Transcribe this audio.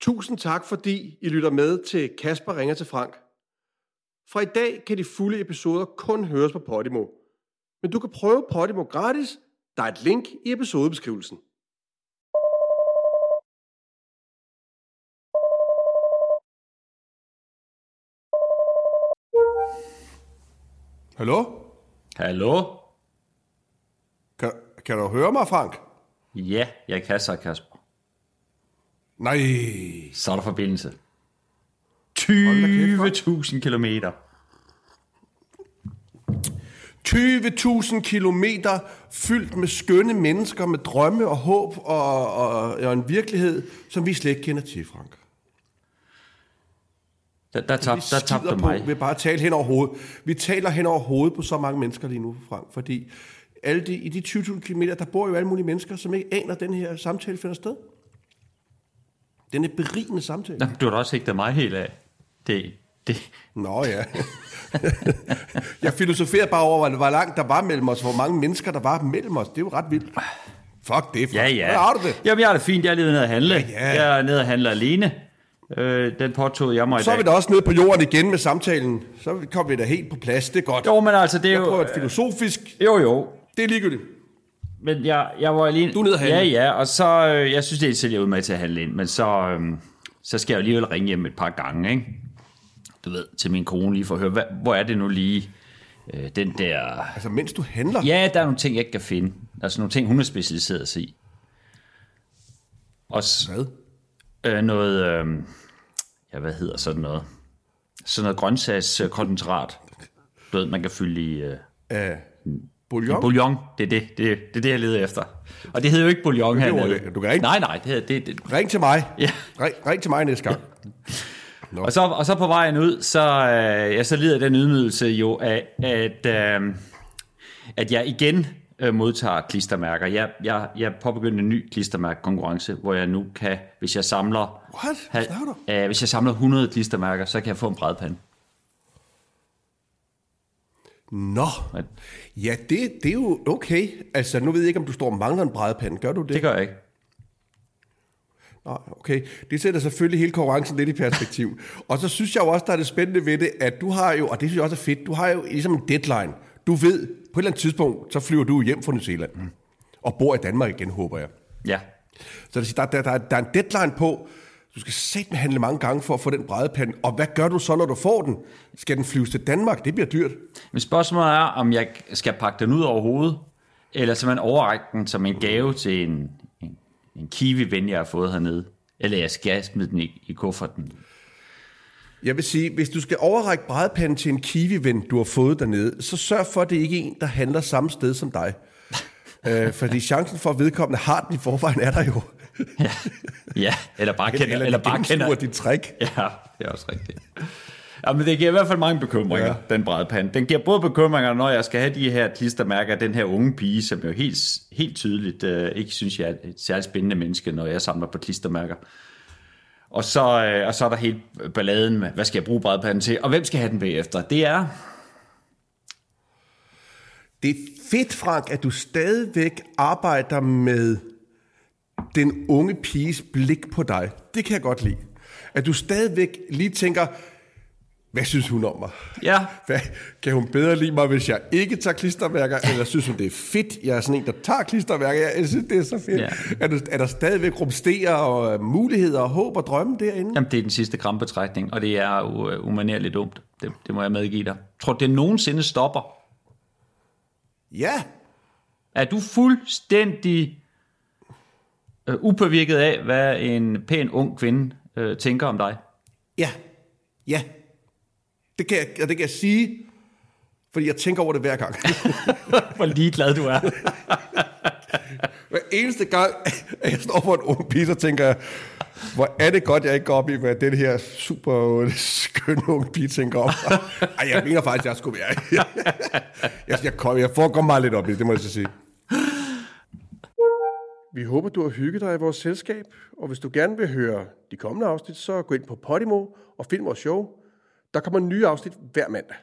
Tusind tak, fordi I lytter med til Kasper ringer til Frank. Fra i dag kan de fulde episoder kun høres på Podimo. Men du kan prøve Podimo gratis. Der er et link i episodebeskrivelsen. Hallo? Hallo? Kan, kan du høre mig, Frank? Ja, jeg kan så, Kasper. Nej. Så er der forbindelse. Hold 20.000 kilometer. 20.000 kilometer fyldt med skønne mennesker, med drømme og håb og, og, og en virkelighed, som vi slet ikke kender til, Frank. Der, der, tab, Vi der tabte skider du på mig. ved bare at tale hen over hovedet. Vi taler hen over hovedet på så mange mennesker lige nu, Frank, fordi alle de, i de 20.000 km, der bor jo alle mulige mennesker, som ikke aner, at den her samtale finder sted. Den er berigende samtale. Nå, Du har da også hægtet mig helt af. Det, det. Nå ja. jeg filosoferede bare over, hvor- hvor langt der var mellem os, hvor mange mennesker der var mellem os. Det er jo ret vildt. Fuck det, fuck. Ja, ja. Hvordan har du det? Jamen, jeg er det fint. Jeg er lige nede og handle. Ja, ja. Jeg er nede og handle alene. Øh, den påtog jeg mig i Så er vi dag. da også nede på jorden igen med samtalen. Så kom vi da helt på plads, det er godt. Jo, men altså, det er jeg prøver jo... et filosofisk. Jo, jo. Det er ligegyldigt. Men jeg, jeg var alene... Du er nede at handle. Ja, ja, og så... Øh, jeg synes, det er selv, jeg er ude med til at handle ind, men så... Øh, så skal jeg jo alligevel ringe hjem et par gange, ikke? Du ved, til min kone lige for at høre, hvad, hvor er det nu lige, øh, den der... Altså, mens du handler. Ja, der er nogle ting, jeg ikke kan finde. Altså nogle ting, hun er specialiseret sig i. Og s- Hvad? øh, noget, øh, ja, hvad hedder sådan noget? Sådan noget grøntsagskoncentrat. Du ved, man kan fylde i øh, Uh, bouillon? bouillon. Det er det, det, er- det, er det, jeg leder efter. Og det hedder jo ikke bouillon her. ordet, ikke? Du kan ikke- Nej, nej, det hedder det, det. Ring til mig. Ja. Ring, ring til mig næste gang. Og så, og så på vejen ud, så, øh, ja, så lider den ydmygelse jo af, at, øh, at jeg igen øh, modtager klistermærker. Jeg, jeg, jeg påbegyndte en ny klistermærkekonkurrence, hvor jeg nu kan, hvis jeg samler... What? Hvad snakker du? øh, hvis jeg samler 100 klistermærker, så kan jeg få en brædpande. Nå. Ja, det, det er jo okay. Altså, nu ved jeg ikke, om du står og mangler en brædepande. Gør du det? Det gør jeg ikke. Nej, okay. Det sætter selvfølgelig hele konkurrencen lidt i perspektiv. og så synes jeg jo også, der er det spændende ved det, at du har jo, og det synes jeg også er fedt, du har jo ligesom en deadline. Du ved, på et eller andet tidspunkt, så flyver du hjem fra New Zealand. Og bor i Danmark igen, håber jeg. Ja. Så det vil sige, der, der, der, der er en deadline på, du skal satme handle mange gange for at få den brædepande. Og hvad gør du så, når du får den? Skal den flyves til Danmark? Det bliver dyrt. Men spørgsmålet er, om jeg skal pakke den ud over hovedet, eller simpelthen overrække den som en gave til en, en, en kiwi-ven, jeg har fået hernede. Eller jeg skal smide den i, i kufferten. Jeg vil sige, hvis du skal overrække brædepanden til en kiwi-ven, du har fået dernede, så sørg for, at det ikke er en, der handler samme sted som dig. øh, fordi chancen for, at vedkommende har den i forvejen, er der jo. Ja, eller bare kender, eller, de bare kender. gennemskuer dit trick. Ja, det er også rigtigt. Ja, men det giver i hvert fald mange bekymringer, ja. den brædepande. Den giver både bekymringer, når jeg skal have de her klistermærker, den her unge pige, som jo helt, helt tydeligt øh, ikke synes, jeg er et særligt spændende menneske, når jeg samler på klistermærker. Og så, øh, og så er der helt balladen med, hvad skal jeg bruge brædepanden til, og hvem skal have den bagefter? Det er... Det er fedt, Frank, at du stadigvæk arbejder med den unge piges blik på dig. Det kan jeg godt lide. At du stadigvæk lige tænker, hvad synes hun om mig? Ja, Hvad, kan hun bedre lide mig, hvis jeg ikke tager klistermærker, eller synes hun, det er fedt, jeg er sådan en, der tager klistermærker? Jeg, jeg synes, det er så fedt. Ja. Ja. Er, der, er der stadigvæk rumsterer og øh, muligheder og håb og drømme derinde? Jamen, det er den sidste krampetrækning, og det er jo øh, umanerligt dumt. Det, det må jeg medgive dig. Tror du, det nogensinde stopper? Ja. Er du fuldstændig øh, upåvirket af, hvad en pæn ung kvinde øh, tænker om dig? Ja. Ja. Det kan jeg, og det kan jeg sige, fordi jeg tænker over det hver gang. Hvor ligeglad du er. Hver eneste gang, at jeg står for en ung pige, så tænker jeg, hvor er det godt, jeg ikke går op i, hvad den her super øh, skønne unge pige tænker om. Ej, jeg mener faktisk, jeg skulle være. jeg, jeg, kom, jeg foregår meget lidt op i det, det må jeg så sige. Vi håber, du har hygget dig i vores selskab, og hvis du gerne vil høre de kommende afsnit, så gå ind på Podimo og find vores show. Der kommer nye afsnit hver mandag.